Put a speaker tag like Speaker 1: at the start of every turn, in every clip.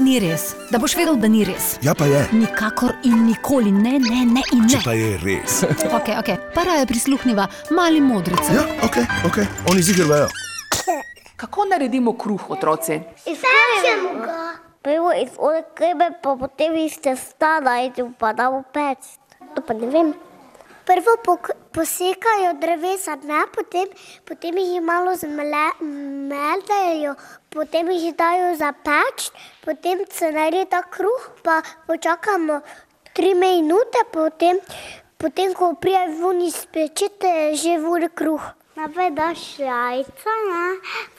Speaker 1: ni res, da boš vedel, da ni res.
Speaker 2: Ja, pa je.
Speaker 1: Nikakor in nikoli ne, ne, ne in
Speaker 2: Če
Speaker 1: ne.
Speaker 2: pa je res.
Speaker 1: Okay, okay. Para je prisluhnila mali modrici.
Speaker 2: Ja, ok, ok, oni zigrajo.
Speaker 3: Kako naredimo kruh, otroci?
Speaker 4: Izprašamo ga. Prvo iz odkrebe, pa potem iz testa najdemo pa da v peč. To pa ne vem. Prvo pok- posekajo drevesa, ne? potem, potem jih malo zmeljajo, potem jih dajo za peč, potem se naredi ta kruh, pa počakamo tri minute, potem, potem ko prije vun izpečete, že vun kruh. Najprej daš jajca, ne?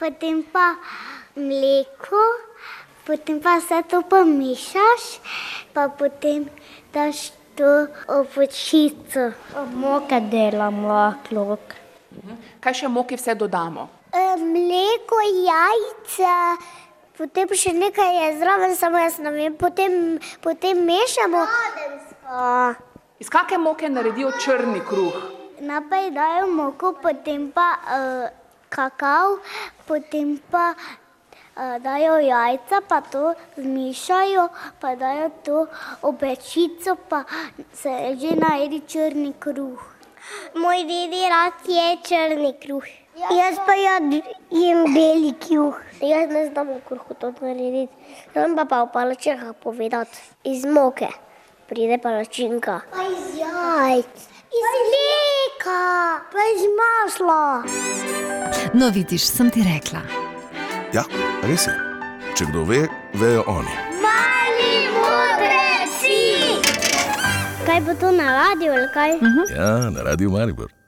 Speaker 4: potem pa mleko, potem pa vse to pomešaš, pa potem daš to opočico. Moka delamo, klok.
Speaker 3: Kaj še moki vse dodamo?
Speaker 4: E, Mleko, jajca, potem še nekaj je zraven, samo jaz ne vem, potem, potem mešamo. Odensko.
Speaker 3: Iz kakšne moke naredijo črni kruh?
Speaker 4: Najprej dajo moko, potem pa uh, kakav, potem pa uh, dajo jajca, pa to zmišajo, pa dajo to obečico, pa se že najedi črni kruh. Moj dedi rad je črni kruh. Jaz pa jem beli kruh. Jaz ne znam v kruhu to narediti, znam pa pa v palačinah povedati iz moke. Pride palačinka. Pa iz jajc. Iz mleka, pa iz masla.
Speaker 1: No, vidiš, sem ti rekla.
Speaker 2: Ja, res je. Če kdo ve, vejo oni.
Speaker 4: Mali modri si. Kaj bo to na radiju ali kaj?
Speaker 2: Ja, na radiju Maribor.